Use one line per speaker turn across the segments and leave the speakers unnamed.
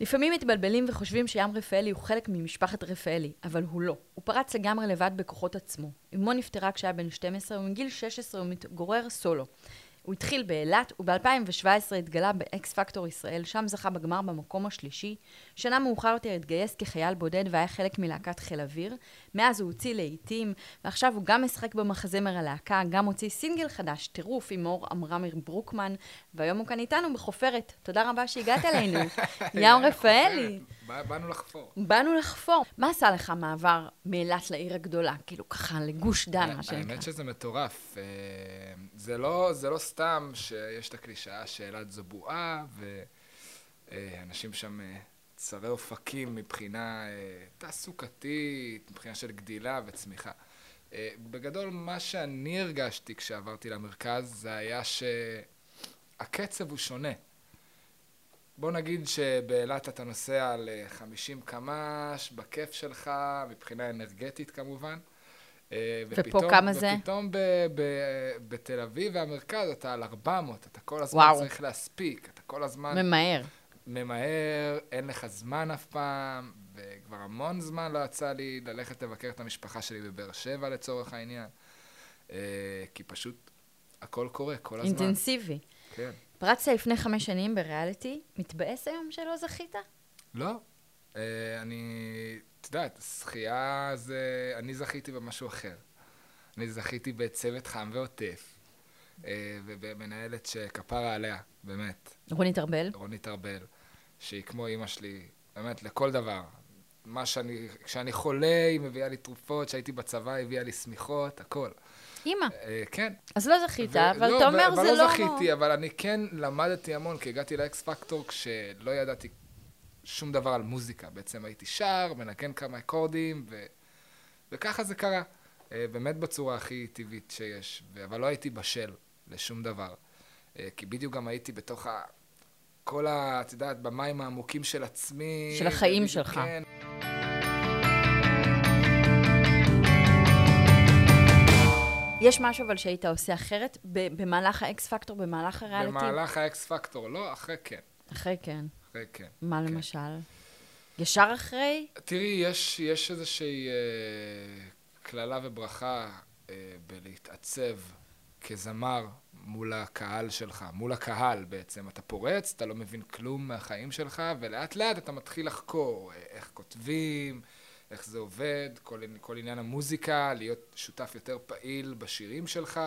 לפעמים מתבלבלים וחושבים שים רפאלי הוא חלק ממשפחת רפאלי, אבל הוא לא. הוא פרץ לגמרי לבד בכוחות עצמו. אמו נפטרה כשהיה בן 12, ומגיל 16 הוא מתגורר סולו. הוא התחיל באילת, וב-2017 התגלה באקס פקטור ישראל, שם זכה בגמר במקום השלישי. שנה מאוחר יותר התגייס כחייל בודד והיה חלק מלהקת חיל אוויר. מאז הוא הוציא להיטים, ועכשיו הוא גם משחק במחזמר הלהקה, גם הוציא סינגל חדש, טירוף עם אור עמרמיר ברוקמן, והיום הוא כאן איתנו בחופרת. תודה רבה שהגעת אלינו.
כן,
ים רפאלי.
בא- באנו לחפור.
באנו לחפור. מה עשה לך מעבר מאילת לעיר הגדולה? כאילו ככה לגוש דן, מה שנקרא.
אה, כן, האמת שזה מטורף. אה, זה לא, זה לא סתם שיש את הקלישאה שאילת זו בועה, ואנשים שם אה, צרי אופקים מבחינה אה, תעסוקתית, מבחינה של גדילה וצמיחה. אה, בגדול, מה שאני הרגשתי כשעברתי למרכז, זה היה שהקצב הוא שונה. בוא נגיד שבאילת אתה נוסע על אה, 50 קמ"ש, בכיף שלך, מבחינה אנרגטית כמובן. אה,
ופה
ופתאום-
כמה זה?
ופתאום ב- ב- בתל אביב והמרכז אתה על 400, אתה כל הזמן
וואו.
צריך להספיק, אתה כל הזמן
ממהר.
ממהר, אין לך זמן אף פעם, וכבר המון זמן לא יצא לי ללכת לבקר את המשפחה שלי בבאר שבע לצורך העניין, אה, כי פשוט הכל קורה כל הזמן.
אינטנסיבי.
כן.
פרצת לפני חמש שנים בריאליטי, מתבאס היום שלא זכית?
לא. אה, אני, את יודעת, שחייה זה... אני זכיתי במשהו אחר. אני זכיתי בצוות חם ועוטף, אה, ובמנהלת שכפרה עליה, באמת,
רונית ארבל.
רונית ארבל, שהיא כמו אימא שלי, באמת, לכל דבר. מה שאני, כשאני חולה, היא מביאה לי תרופות, כשהייתי בצבא, היא הביאה לי שמיכות, הכל.
אימא.
אה, כן,
אז לא זכית,
ו-
אבל
לא,
אתה
ו-
אומר
אבל
זה לא...
לא זכיתי, אבל אני כן למדתי המון, כי הגעתי לאקס פקטור כשלא ידעתי שום דבר על מוזיקה. בעצם הייתי שר, מנגן כמה אקורדים, ו... וככה זה קרה. אה, באמת בצורה הכי טבעית שיש, ו- אבל לא הייתי בשל לשום דבר. אה, כי בדיוק גם הייתי בתוך ה... כל ה... את יודעת, במים העמוקים של עצמי.
של החיים
ובדיוק,
שלך.
כן,
יש משהו אבל שהיית עושה אחרת ב- במהלך האקס פקטור, במהלך הריאליטי?
במהלך האקס פקטור, לא, אחרי כן.
אחרי כן.
אחרי כן.
מה
כן.
למשל? ישר אחרי?
תראי, יש, יש איזושהי אה, קללה וברכה אה, בלהתעצב כזמר מול הקהל שלך, מול הקהל בעצם. אתה פורץ, אתה לא מבין כלום מהחיים שלך, ולאט לאט אתה מתחיל לחקור אה, איך כותבים, איך זה עובד, כל, עני- כל עניין המוזיקה, להיות שותף יותר פעיל בשירים שלך.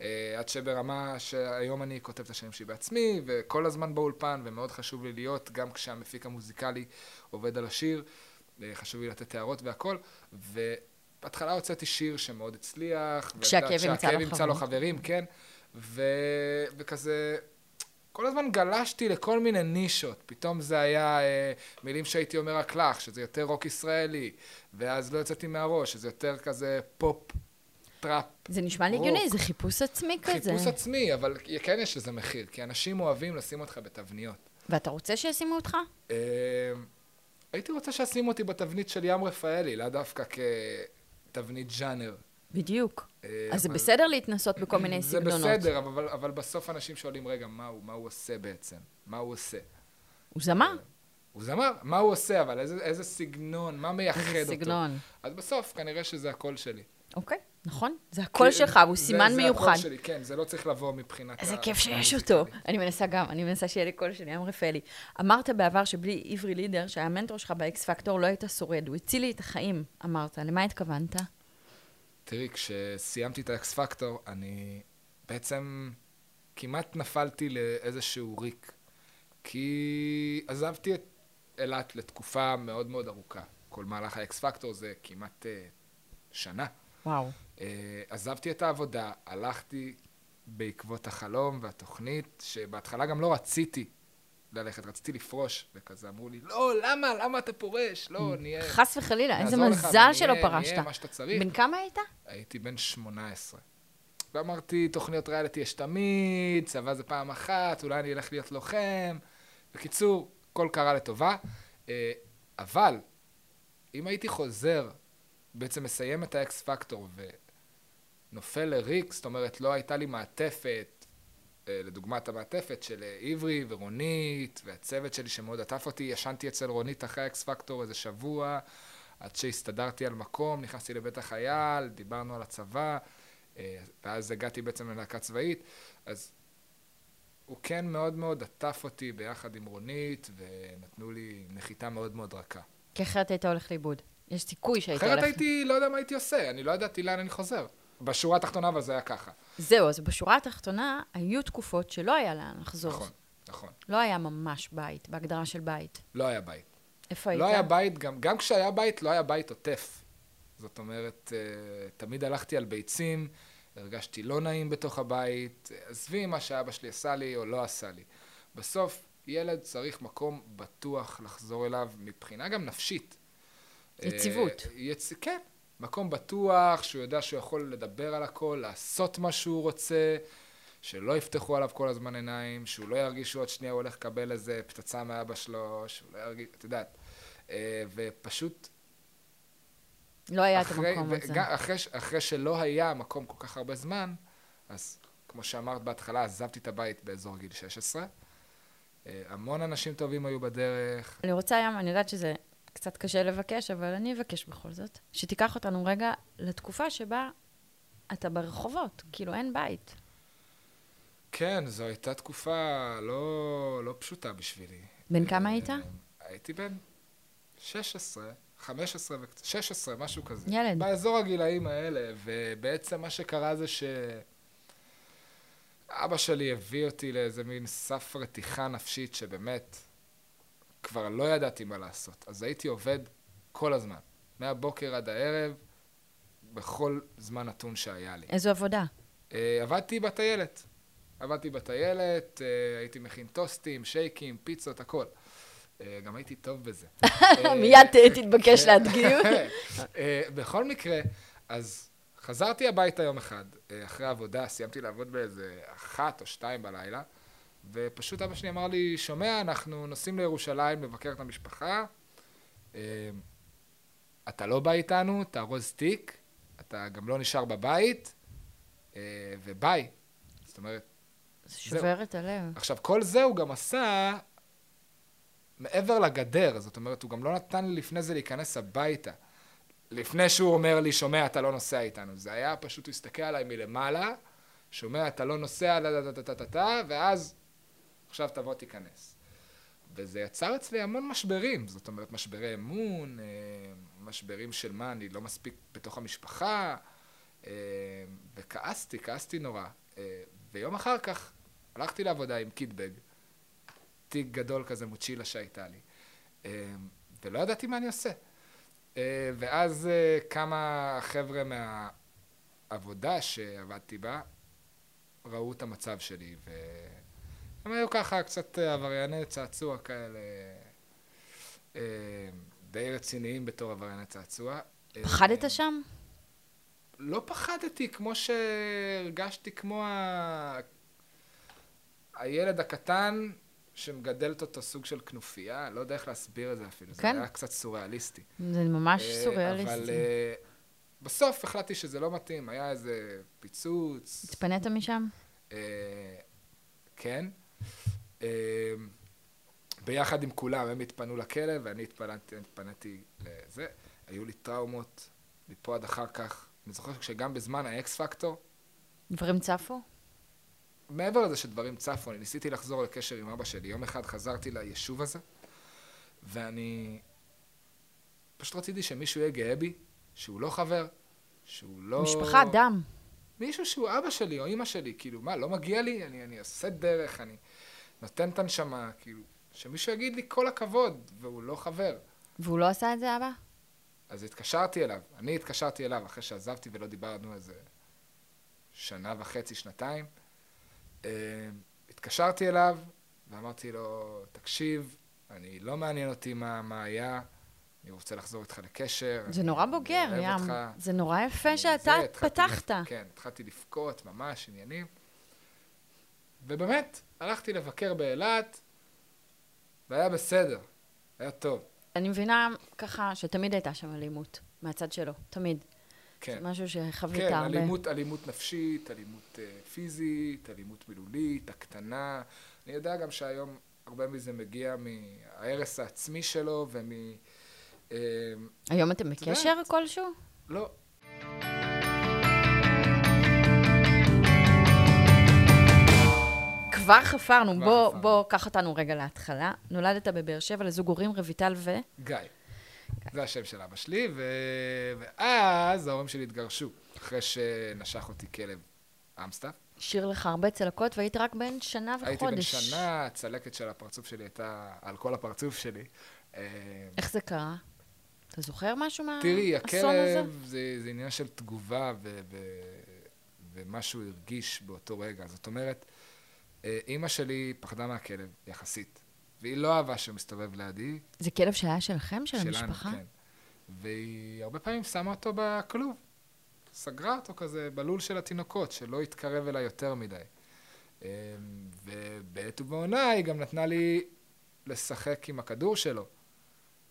אה, עד שברמה שהיום אני כותב את השירים שלי בעצמי, וכל הזמן באולפן, ומאוד חשוב לי להיות, גם כשהמפיק המוזיקלי עובד על השיר, אה, חשוב לי לתת הערות והכל, ובהתחלה הוצאתי שיר שמאוד הצליח. ואת
כשהכאב
יודעת,
ימצא
כשהכאב
לו
ימצא לו
חברים.
חברים, כן. ו... וכזה, כל הזמן גלשתי לכל מיני נישות. פתאום זה היה אה, מילים שהייתי אומר רק לך, שזה יותר רוק ישראלי, ואז לא יצאתי מהראש, שזה יותר כזה פופ, טראפ.
זה נשמע לי
רוק.
הגיוני, זה חיפוש עצמי כזה.
חיפוש עצמי, אבל כן יש לזה מחיר, כי אנשים אוהבים לשים אותך בתבניות.
ואתה רוצה שישימו אותך?
אה, הייתי רוצה שישימו אותי בתבנית של ים רפאלי, לאו דווקא כתבנית ז'אנר.
בדיוק.
אה,
אז זה
אבל-
בסדר להתנסות בכל מיני
זה
סגנונות.
בסדר, אבל, אבל בסוף אנשים שואלים, רגע, מה הוא, מה הוא עושה בעצם? מה הוא עושה?
הוא זמר?
הוא זמר, מה הוא עושה, אבל איזה, איזה סגנון, מה מייחד
איזה
אותו?
סגנון.
אז בסוף, כנראה שזה הקול שלי.
אוקיי, נכון. זה הקול שלך, הוא סימן
כן, זה, זה
מיוחד.
הקול שלי, אה, כן, זה לא צריך לבוא מבחינת...
איזה
ה-
כיף שיש
המוזיקלי.
אותו. אני מנסה גם, אני מנסה שיהיה לי קול של ים רפאלי. אמרת בעבר שבלי עברי לידר, שהיה המנטור שלך באקס פקטור, לא היית שורד. הוא הציל לי את החיים, אמרת. למה התכוונת?
תראי, כשסיימתי את האקס פקטור, אני בעצם כמעט נפלתי לאיזשהו ריק. כי עזבתי את אילת לתקופה מאוד מאוד ארוכה. כל מהלך האקס פקטור זה כמעט אה, שנה.
וואו.
אה, עזבתי את העבודה, הלכתי בעקבות החלום והתוכנית, שבהתחלה גם לא רציתי ללכת, רציתי לפרוש, וכזה אמרו לי, לא, למה, למה אתה פורש? לא, נהיה...
חס וחלילה, Mm. איזה
נעזור לך,
מזל שלא
נהיה- נהיה מה
פרשת.
שאתה צריך.
בן כמה היית?
הייתי בן 18. ואמרתי, תוכניות ריאליטי יש תמיד, צבא זה פעם אחת, אולי אני אלך להיות לוחם. בקיצור, הכל קרה לטובה. אה, אבל, אם הייתי חוזר, בעצם מסיים את האקס פקטור ונופל לריק, זאת אומרת, לא הייתה לי מעטפת, אה, לדוגמת המעטפת של אה, עברי ורונית והצוות שלי שמאוד עטף אותי, ישנתי אצל רונית אחרי האקס פקטור איזה שבוע, עד שהסתדרתי על מקום, נכנסתי לבית החייל, דיברנו על הצבא, אה, ואז הגעתי בעצם ללהקה צבאית, אז הוא כן מאוד מאוד עטף אותי ביחד עם רונית, ונתנו לי נחיתה מאוד מאוד רכה.
כי אחרת היית הולך לאיבוד. יש סיכוי שהיית הולך.
אחרת הייתי, לא יודע מה הייתי עושה, אני לא ידעתי לאן אני חוזר. בשורה התחתונה, אבל זה היה ככה.
זהו, אז בשורה התחתונה, היו תקופות שלא היה לאן לחזור.
נכון, נכון.
לא היה ממש בית, בהגדרה של בית.
לא היה בית.
איפה היית?
לא היה בית, גם, גם כשהיה בית, לא היה בית עוטף. זאת אומרת, אה, תמיד הלכתי על ביצים, הרגשתי לא נעים בתוך הבית, עזבי מה שאבא שלי עשה לי או לא עשה לי. בסוף, ילד צריך מקום בטוח לחזור אליו, מבחינה גם נפשית.
יציבות.
אה, יצ... כן, מקום בטוח, שהוא יודע שהוא יכול לדבר על הכל, לעשות מה שהוא רוצה, שלא יפתחו עליו כל הזמן עיניים, שהוא לא ירגיש שעוד שנייה הוא הולך לקבל איזה פצצה מאבא שלו, שהוא לא ירגיש, את יודעת. אה, ופשוט,
לא היה את
אחרי,
המקום הזה.
וגם אחרי, ש- אחרי שלא היה מקום כל כך הרבה זמן, אז כמו שאמרת בהתחלה, עזבתי את הבית באזור גיל 16. אה, המון אנשים טובים היו בדרך.
אני רוצה היום, אני יודעת שזה קצת קשה לבקש, אבל אני אבקש בכל זאת, שתיקח אותנו רגע לתקופה שבה אתה ברחובות, כאילו אין בית.
כן, זו הייתה תקופה לא, לא פשוטה בשבילי.
בן כמה היית?
אה, הייתי בן 16, 15 וקצת, 16, משהו כזה.
ילד.
באזור הגילאים האלה, ובעצם מה שקרה זה ש... אבא שלי הביא אותי לאיזה מין סף רתיחה נפשית שבאמת כבר לא ידעתי מה לעשות. אז הייתי עובד כל הזמן, מהבוקר עד הערב, בכל זמן נתון שהיה לי.
איזו עבודה.
אה, עבדתי בטיילת. עבדתי בטיילת, אה, הייתי מכין טוסטים, שייקים, פיצות, הכל. אה, גם הייתי טוב בזה. אה,
מיד ת- תתבקש להדגיר.
כן. אה, בכל מקרה, אז חזרתי הביתה יום אחד, אה, אחרי העבודה, סיימתי לעבוד באיזה אחת או שתיים בלילה, ופשוט אבא שלי אמר לי, שומע, אנחנו נוסעים לירושלים לבקר את המשפחה, אה, אתה לא בא איתנו, תארוז תיק, אתה גם לא נשאר בבית, אה, וביי. זאת אומרת,
זה שובר את הלב.
עכשיו, כל זה הוא גם עשה מעבר לגדר, זאת אומרת, הוא גם לא נתן לי לפני זה להיכנס הביתה. לפני שהוא אומר לי, שומע, אתה לא נוסע איתנו. זה היה פשוט, הוא הסתכל עליי מלמעלה, שומע, אתה לא נוסע, דה דה דה דה דה דה, ואז, עכשיו תבוא תיכנס. וזה יצר אצלי המון משברים, זאת אומרת, משברי אמון, אה, משברים של מה, אני לא מספיק בתוך המשפחה, אה, וכעסתי, כעסתי נורא. אה, ויום אחר כך הלכתי לעבודה עם קיטבג, תיק גדול כזה, מוצ'ילה שהייתה לי, אה, ולא ידעתי מה אני עושה. אה, ואז אה, כמה חבר'ה מהעבודה שעבדתי בה, ראו את המצב שלי, והם היו ככה קצת אה, עברייני צעצוע כאלה, אה, די רציניים בתור עברייני צעצוע. אה,
פחדת שם?
לא פחדתי כמו שהרגשתי כמו ה... הילד הקטן שמגדלת אותו סוג של כנופיה, לא יודע איך להסביר את זה אפילו, זה
כן.
היה קצת סוריאליסטי.
זה ממש
אה, אבל
סוריאליסטי.
אה, בסוף החלטתי שזה לא מתאים, היה איזה פיצוץ.
התפנית משם?
אה, כן. אה, ביחד עם כולם, הם התפנו לכלא ואני התפנתי, התפניתי לזה. היו לי טראומות מפה עד אחר כך. אני זוכר שגם בזמן האקס פקטור,
דברים צפו?
מעבר לזה שדברים צפו, אני ניסיתי לחזור לקשר עם אבא שלי. יום אחד חזרתי ליישוב הזה, ואני פשוט רציתי שמישהו יהיה גאה בי, שהוא לא חבר, שהוא לא...
משפחה, דם.
מישהו שהוא אבא שלי או אימא שלי, כאילו, מה, לא מגיע לי? אני, אני עושה דרך, אני נותן את הנשמה, כאילו, שמישהו יגיד לי כל הכבוד, והוא לא חבר.
והוא לא עשה את זה, אבא?
אז התקשרתי אליו, אני התקשרתי אליו אחרי שעזבתי ולא דיברנו איזה שנה וחצי, שנתיים. אה, התקשרתי אליו, ואמרתי לו, תקשיב, אני לא מעניין אותי מה, מה היה, אני רוצה לחזור איתך לקשר.
זה
אני-
נורא
אני
בוגר,
אוהב
ים.
אותך."
זה נורא יפה כן, שאתה
זה, התחלתי
פתחת.
לפ- כן, התחלתי לבכות, ממש עניינים. ובאמת, הלכתי לבקר באילת, והיה בסדר, היה טוב.
אני מבינה ככה שתמיד הייתה שם אלימות, מהצד שלו, תמיד.
כן.
זה משהו שחווית
כן,
הרבה.
אלימות, אלימות נפשית, אלימות אה, פיזית, אלימות מילולית, הקטנה. אני יודע גם שהיום הרבה מזה מגיע מההרס העצמי שלו ומ... אה,
היום אתם
יודעת.
בקשר כלשהו?
לא.
כבר חפרנו,
כבר
בוא,
חפרנו.
בוא, קח אותנו רגע להתחלה. נולדת בבאר שבע לזוג הורים רויטל ו...
גיא. זה השם של אבא שלי, ו... ואז ההורים שלי התגרשו, אחרי שנשך אותי כלב אמסטף.
שיר לך הרבה צלקות, והיית רק בן שנה וחודש.
הייתי בן שנה, הצלקת של הפרצוף שלי הייתה על כל הפרצוף שלי. אה,
איך זה קרה? אתה זוכר משהו
תראי,
מהאסון הזה?
הכלב זה, זה עניין של תגובה ו, ו, ומה שהוא הרגיש באותו רגע. זאת אומרת, אה, אימא שלי פחדה מהכלב, יחסית, והיא לא אהבה שהוא מסתובב לידי,
זה כלב שהיה שלכם, של
שלנו,
המשפחה?
כן. והיא הרבה פעמים שמה אותו בכלוב. סגרה אותו כזה בלול של התינוקות, שלא התקרב אליי יותר מדי. אמ, ובעת ובעונה היא גם נתנה לי לשחק עם הכדור שלו.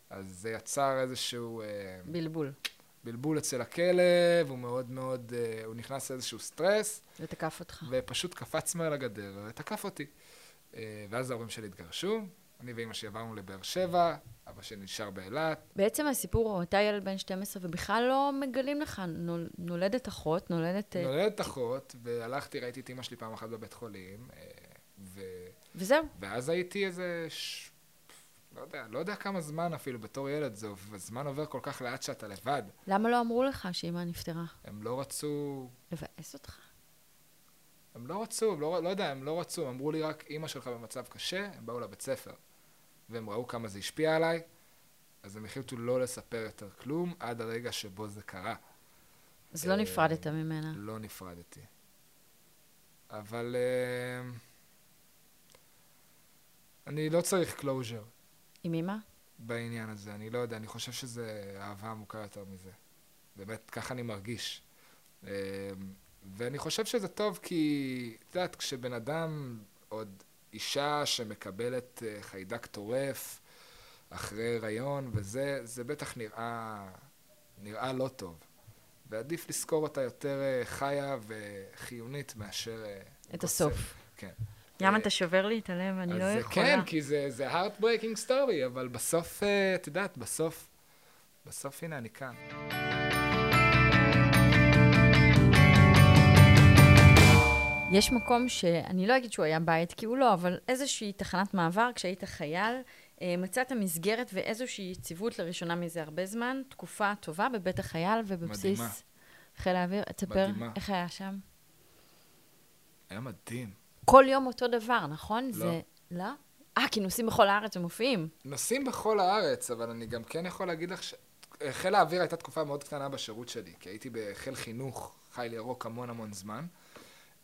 אז זה יצר איזשהו אה,
בלבול.
בלבול אצל הכלב, הוא מאוד מאוד, אה, הוא נכנס לאיזשהו סטרס,
זה תקף אותך.
ופשוט קפץ מעל הגדר ותקף אותי. אה, ואז ההורים שלי התגרשו, אני ואימא שלי עברנו לבאר שבע, אבא שלי נשאר באילת,
בעצם הסיפור הוא, אתה ילד בן 12 ובכלל לא מגלים לך, נול- נולדת אחות, נולדת... אה,
נולדת אחות, והלכתי, ראיתי את אימא שלי פעם אחת בבית חולים, אה, ו...
וזהו.
ואז הייתי איזה... ש... לא יודע, לא יודע כמה זמן אפילו בתור ילד, זה עוב- הזמן עובר כל כך לאט שאתה לבד.
למה לא אמרו לך שאימא נפטרה?
הם לא רצו...
לבאס אותך?
הם לא רצו, הם לא, לא יודע, הם לא רצו, הם אמרו לי רק, אימא שלך במצב קשה, הם באו לבית ספר. והם ראו כמה זה השפיע עליי, אז הם החליטו לא לספר יותר כלום עד הרגע שבו זה קרה.
אז לא
אה,
נפרדת ממנה.
לא נפרדתי. אבל אה, אני לא צריך קלוז'ר
עם
אה,
אימא?
בעניין הזה, אני לא יודע, אני חושב שזה אהבה עמוקה יותר מזה. באמת, ככה אני מרגיש. אה, ואני חושב שזה טוב כי, את יודעת, כשבן אדם, עוד אישה שמקבלת אה, חיידק טורף אחרי הריון וזה, זה בטח נראה, נראה לא טוב. ועדיף לזכור אותה יותר אה, חיה וחיונית מאשר... אה,
את
גוסס.
הסוף.
כן.
ים,
אה,
אתה שובר לי את הלב, אני
אז
לא
זה
יכולה.
כן, כי זה, זה heartbreaking story, אבל בסוף, אה, את יודעת, בסוף, בסוף הנה אני כאן.
יש מקום שאני לא אגיד שהוא היה בית, כי הוא לא, אבל איזושהי תחנת מעבר, כשהיית חייל, אה, מצאת מסגרת ואיזושהי יציבות לראשונה מזה הרבה זמן, תקופה טובה בבית החייל ובבסיס
מדהימה.
חיל האוויר. תספר
מדהימה.
איך היה שם.
היה מדהים.
כל יום אותו דבר, נכון?
לא.
זה... לא? אה, כינוסים בכל הארץ ומופיעים.
נוסעים בכל הארץ, אבל אני גם כן יכול להגיד לך ש... אה, חיל האוויר הייתה תקופה מאוד קטנה בשירות שלי, כי הייתי בחיל חינוך, חיל ירוק המון המון זמן.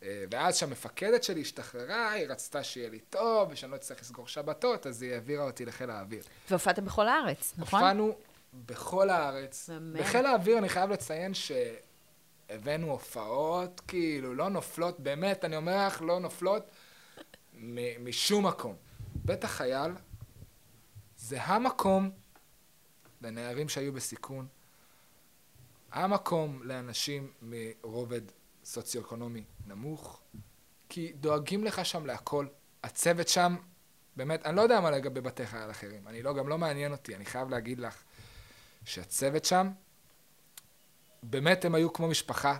אה, ואז כשהמפקדת שלי השתחררה, היא רצתה שיהיה לי טוב, ושאני לא אצטרך לסגור שבתות, אז היא העבירה אותי לחיל האוויר.
והופעת בכל הארץ, נכון?
הופענו בכל הארץ.
באמת?
בחיל האוויר אני חייב לציין שהבאנו הופעות, כאילו, לא נופלות, באמת, אני אומר לך, לא נופלות מ- משום מקום. בית החייל זה המקום לנערים שהיו בסיכון, המקום לאנשים מרובד סוציו-אקונומי נמוך, כי דואגים לך שם להכל. הצוות שם, באמת, אני לא יודע מה לגבי בתי חייל אחרים. אני לא, גם לא מעניין אותי, אני חייב להגיד לך שהצוות שם, באמת הם היו כמו משפחה.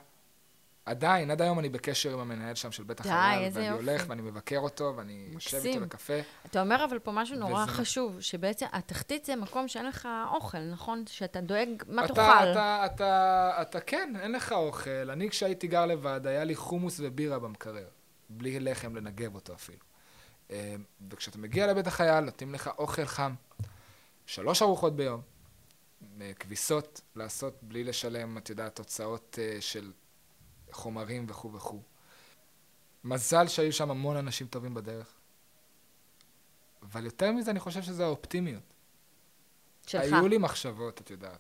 עדיין, עד היום אני בקשר עם המנהל שם של בית
די,
החייל,
איזה
ואני
יופי.
הולך ואני מבקר אותו, ואני יושב איתו
מקסים.
לקפה.
אתה אומר אבל פה משהו נורא
וזה-
חשוב, שבעצם התחתית זה מקום שאין לך אוכל, נכון? שאתה דואג מה
אתה,
תאכל.
אתה, אתה, אתה, כן, אין לך אוכל. אני, כשהייתי גר לבד, היה לי חומוס ובירה במקרר. בלי לחם לנגב אותו אפילו. אה, וכשאתה מגיע לבית החייל, נותנים לך אוכל חם. שלוש ארוחות ביום. אה, כביסות לעשות בלי לשלם, את יודעת, הוצאות אה, של חומרים וכו' וכו'. מזל שהיו שם המון אנשים טובים בדרך. אבל יותר מזה, אני חושב שזה האופטימיות.
שלך.
היו לי מחשבות, את יודעת,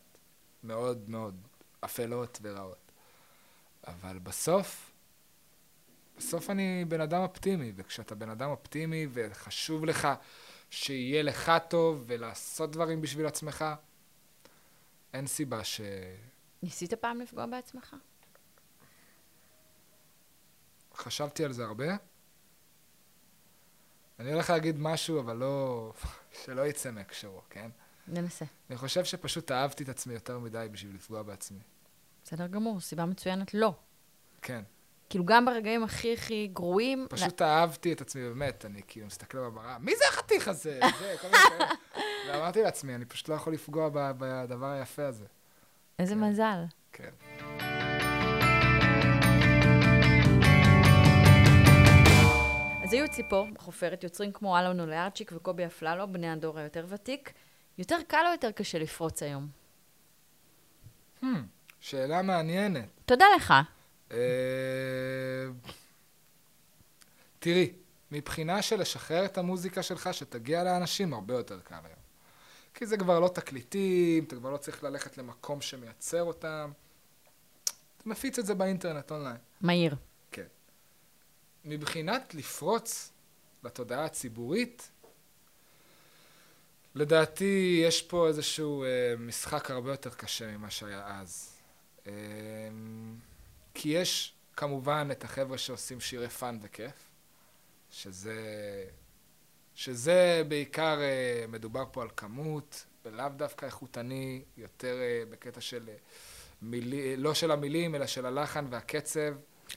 מאוד מאוד אפלות ורעות. אבל בסוף, בסוף אני בן אדם אופטימי, וכשאתה בן אדם אופטימי וחשוב לך שיהיה לך טוב ולעשות דברים בשביל עצמך, אין סיבה ש...
ניסית פעם לפגוע בעצמך?
חשבתי על זה הרבה. אני הולך להגיד משהו, אבל לא... שלא יצא מהקשרו, כן?
ננסה.
אני חושב שפשוט אהבתי את עצמי יותר מדי בשביל לפגוע בעצמי.
בסדר גמור, סיבה מצוינת לא.
כן.
כאילו, גם ברגעים הכי הכי גרועים...
פשוט אהבתי את עצמי, באמת, אני כאילו מסתכל במראה, מי זה החתיך הזה? זה, כל מיני כאלה. ואמרתי לעצמי, אני פשוט לא יכול לפגוע ב- בדבר היפה הזה.
איזה מזל.
כן.
אז היו אצלי פה, בחופרת, יוצרים כמו אלון אוליארצ'יק וקובי אפללו, בני הדור היותר ותיק. יותר קל או יותר קשה לפרוץ היום?
Hmm, שאלה מעניינת.
תודה לך.
אה, תראי, מבחינה של לשחרר את המוזיקה שלך, שתגיע לאנשים, הרבה יותר קל היום. כי זה כבר לא תקליטים, אתה כבר לא צריך ללכת למקום שמייצר אותם. אתה מפיץ את זה באינטרנט אונליין.
מהיר.
כן. מבחינת לפרוץ לתודעה הציבורית, לדעתי יש פה איזשהו אה, משחק הרבה יותר קשה ממה שהיה אז. אה, כי יש כמובן את החבר'ה שעושים שירי פאן וכיף, שזה, שזה בעיקר אה, מדובר פה על כמות, ולאו דווקא איכותני, יותר אה, בקטע של אה, מילי, לא של המילים, אלא של הלחן והקצב.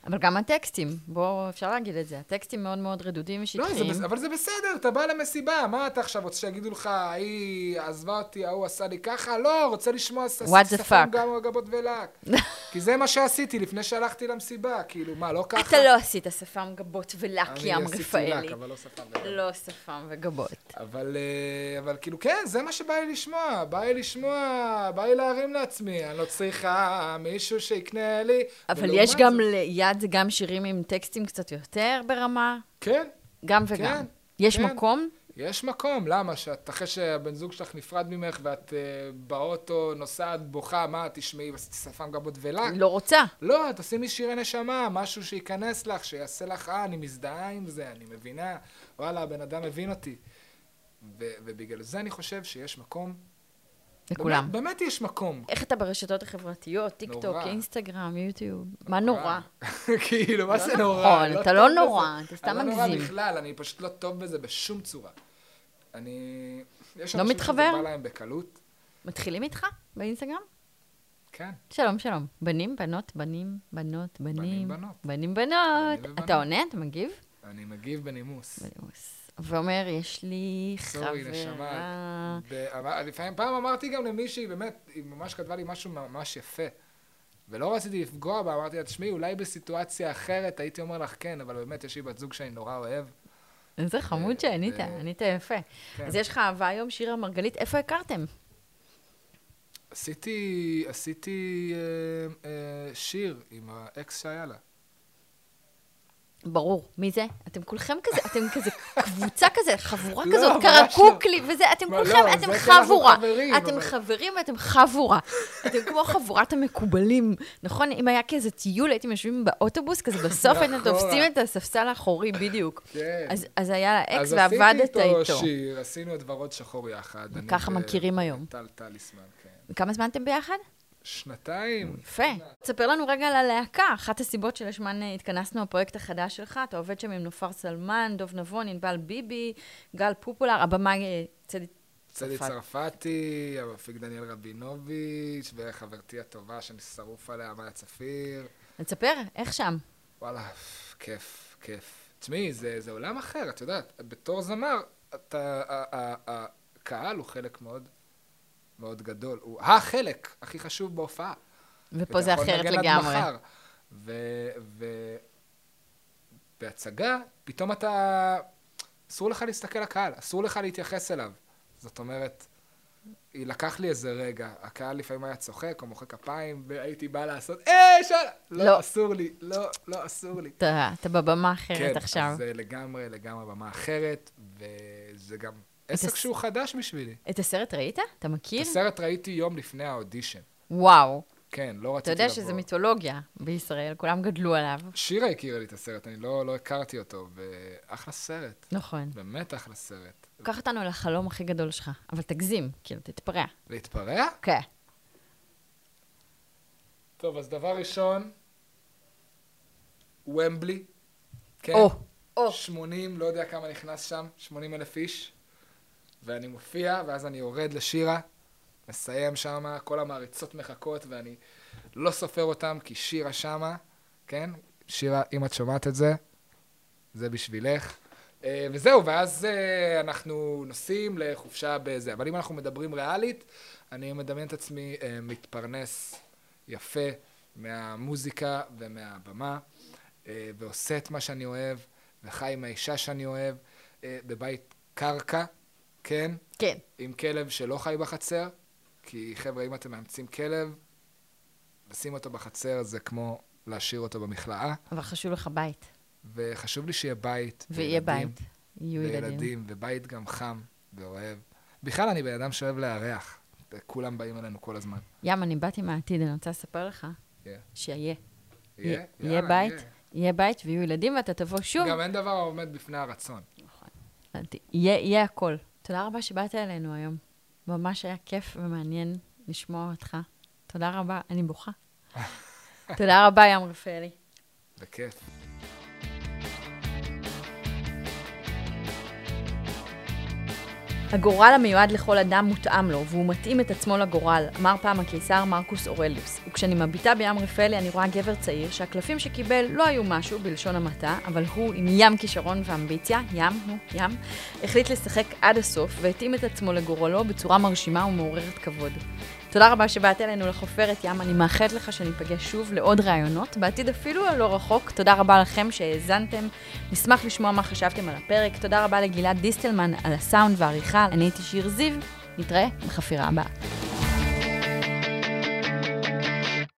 אבל גם הטקסטים, בואו, אפשר להגיד את זה. הטקסטים מאוד מאוד רדודים
לא, זה
ושטחיים.
בס... אבל זה בסדר, אתה בא למסיבה, מה אתה עכשיו רוצה שיגידו לך, ההיא עזבה אותי, ההוא עשה לי ככה? לא, רוצה לשמוע ס-
What the
סקסופון
fuck?
גם על גבות ולק. כי זה מה שעשיתי לפני שהלכתי למסיבה, כאילו, מה, לא ככה?
אתה לא עשית שפם גבות ולק ים
אני עשיתי
רפאלי.
לק, אבל לא שפם גבות.
לא שפם וגבות.
אבל, אה, אבל כאילו, כן, זה מה שבא לי לשמוע. בא לי לשמוע, בא לי להרים לעצמי, אני לא צריכה מישהו שיקנה לי.
אבל
ולעומת
יש גם
זאת-
ליד זה גם שירים עם טקסטים קצת יותר ברמה,
כן,
גם וגם.
כן,
יש
כן.
מקום?
יש מקום, למה? שאת, אחרי שהבן זוג שלך נפרד ממך ואת אה, באוטו נוסעת בוכה, מה, תשמעי שפם גבות ולק?
לא רוצה.
לא, את עושים משירי נשמה, משהו שייכנס לך, שיעשה לך, אה, אני מזדהה עם זה, אני מבינה, וואלה, הבן אדם מבין אותי. ו- ובגלל זה אני חושב שיש מקום.
לכולם.
באמת, באמת יש מקום.
איך אתה ברשתות החברתיות, טיק טוק,
נורא.
אינסטגרם, יוטיוב? מה נורא?
כאילו, מה
לא
זה
נכון,
נורא?
אתה
טוב
לא
בזה.
נורא, אתה סתם
אני לא נורא
מגזים.
בכלל, אני פשוט לא טוב בזה בשום צורה. אני... יש
לא
אנשים
מתחבר?
שזה בא להם בקלות.
מתחילים איתך באינסטגרם?
כן.
שלום, שלום. בנים, בנות, בנים, בנות, בנים.
בנים, בנות.
בנים, בנות.
בנים ובנות.
אתה עונה? אתה מגיב?
אני מגיב בנימוס.
בנימוס. ואומר, יש לי
סורי,
חברה...
נשמה. ב- אבל לפעמים, פעם אמרתי גם למישהי, באמת, היא ממש כתבה לי משהו ממש יפה. ולא רציתי לפגוע בה, אמרתי לה, תשמעי, אולי בסיטואציה אחרת הייתי אומר לך כן, אבל באמת, יש לי בת זוג שאני נורא אוהב.
איזה חמוד שענית,
אה,
ענית יפה.
כן.
אז יש לך אהבה היום, שירה מרגלית, איפה הכרתם?
עשיתי, עשיתי אה, אה, שיר עם האקס שהיה לה.
ברור, מי זה? אתם כולכם כזה, אתם כזה קבוצה כזה, חבורה
לא,
כזאת,
ממש
קרקוקלי וזה, אתם
מה, לא,
כולכם,
זה
אתם
כי אנחנו
חבורה.
חברים,
אתם
אבל-
חברים ואתם חבורה. אתם כמו חבורת המקובלים, נכון? אם היה כאיזה טיול, הייתם יושבים באוטובוס, כזה בסוף הייתם
מאחורה.
תופסים את הספסל האחורי בדיוק.
נכון. כן.
אז- אז היה לה אקס
אז
ועבדת
עשיתי
איתו.
איתו שיר, עשינו את ורוד שחור יחד. אני
ככה
ו-
מכירים היום.
טל טליסמן, כן.
כמה זמן אתם ביחד?
שנתיים.
יפה. תספר לנו רגע על הלהקה. אחת הסיבות שלשמן אה, התכנסנו, הפרויקט החדש שלך, אתה עובד שם עם נופר סלמן, דוב נבון, ענבל ביבי, גל פופולר, הבמאי אה, צדי...
צדי
צרפת.
צרפתי, המפיק דניאל רבינוביץ', וחברתי הטובה שאני שרוף עליה, מאיה צפיר.
אז תספר, איך שם?
וואלה, כיף, כיף. תשמעי, זה, זה עולם אחר, את יודעת, בתור זמר, אתה, ה- ה- ה- הקהל הוא חלק מאוד מאוד גדול. הוא החלק הכי חשוב בהופעה.
ופה זה אחרת לגמרי.
ובהצגה, פתאום אתה... אסור לך להסתכל לקהל, אסור לך להתייחס אליו. זאת אומרת, היא לקח לי איזה רגע, הקהל לפעמים היה צוחק או מוחא כפיים, והייתי בא לעשות, אה, שאלה!
לא.
לא, אסור לי, לא, לא, אסור לי. אה,
אתה, אתה בבמה אחרת עכשיו.
כן, אז זה לגמרי, לגמרי במה אחרת, וזה זה גם עסק
הס-
שהוא חדש בשבילי.
את הסרט ראית? אתה מכיר?
את הסרט ראיתי יום לפני האודישן.
וואו.
כן, לא
אתה
רציתי לבוא.
יודע שזה מיתולוגיה בישראל, כולם גדלו עליו.
שירה הכירה לי את הסרט, אני לא, לא הכרתי אותו, ואחלה סרט,
נכון.
באמת אחלה סרט.
קח אותנו לחלום הכי גדול שלך, אבל תגזים, כאילו, תתפרע.
להתפרע?
כן.
טוב, אז דבר ראשון, ומבלי. כן.
או, או.
80, לא יודע כמה נכנס שם, 80 אלף איש. ואני מופיע, ואז אני יורד לשירה, מסיים שמה, כל המעריצות מחכות, ואני לא סופר אותם, כי שירה שמה, כן? שירה, אם את שומעת את זה, זה בשבילך. אה, וזהו, ואז אה, אנחנו נוסעים לחופשה בזה. אבל אם אנחנו מדברים ריאלית, אני מדמיין את עצמי אה, מתפרנס יפה מהמוזיקה ומהבמה, אה, ועושה את מה שאני אוהב, וחי עם האישה שאני אוהב, אה, בבית קרקע, כן?
כן.
עם כלב שלא חי בחצר, כי חבר'ה, אם אתם מאמצים כלב, לשים אותו בחצר זה כמו להשאיר אותו במכלאה,
אבל חשוב לך בית.
וחשוב לי שיהיה בית.
ויהיה
וילדים,
בית. יהיו ילדים.
וילדים, ובית גם חם ואוהב. בכלל, אני בן אדם שאוהב לארח. כולם באים אלינו כל הזמן.
ים, אני באתי מהעתיד, אני רוצה לספר לך
יהיה.
שיהיה.
יהיה?
יהיה
יאללה,
בית,
יהיה.
יהיה בית ויהיו ילדים, ואתה תבוא שוב.
גם אין דבר העומד בפני הרצון.
הבנתי. יהיה, יהיה הכל. תודה רבה שבאת אלינו היום. ממש היה כיף ומעניין לשמוע אותך. תודה רבה, אני בוכה. תודה רבה, ים רפאלי.
בכיף.
הגורל המיועד לכל אדם מותאם לו, והוא מתאים את עצמו לגורל, אמר פעם הקיסר מרקוס אורליוס. וכשאני מביטה בים רפאלי אני רואה גבר צעיר שהקלפים שקיבל לא היו משהו, בלשון המעטה, אבל הוא עם ים כישרון ואמביציה, ים הוא ים, החליט לשחק עד הסוף, והתאים את עצמו לגורלו בצורה מרשימה ומעוררת כבוד. תודה רבה שבאת אלינו לחופרת ים, אני מאחלת לך שניפגש שוב לעוד ראיונות, בעתיד אפילו הלא רחוק. תודה רבה לכם שהאזנתם, נשמח לשמוע מה חשבתם על הפרק. תודה רבה לגלעד דיסטלמן על הסאונד והעריכה, אני הייתי שיר זיו, נתראה בחפירה הבאה.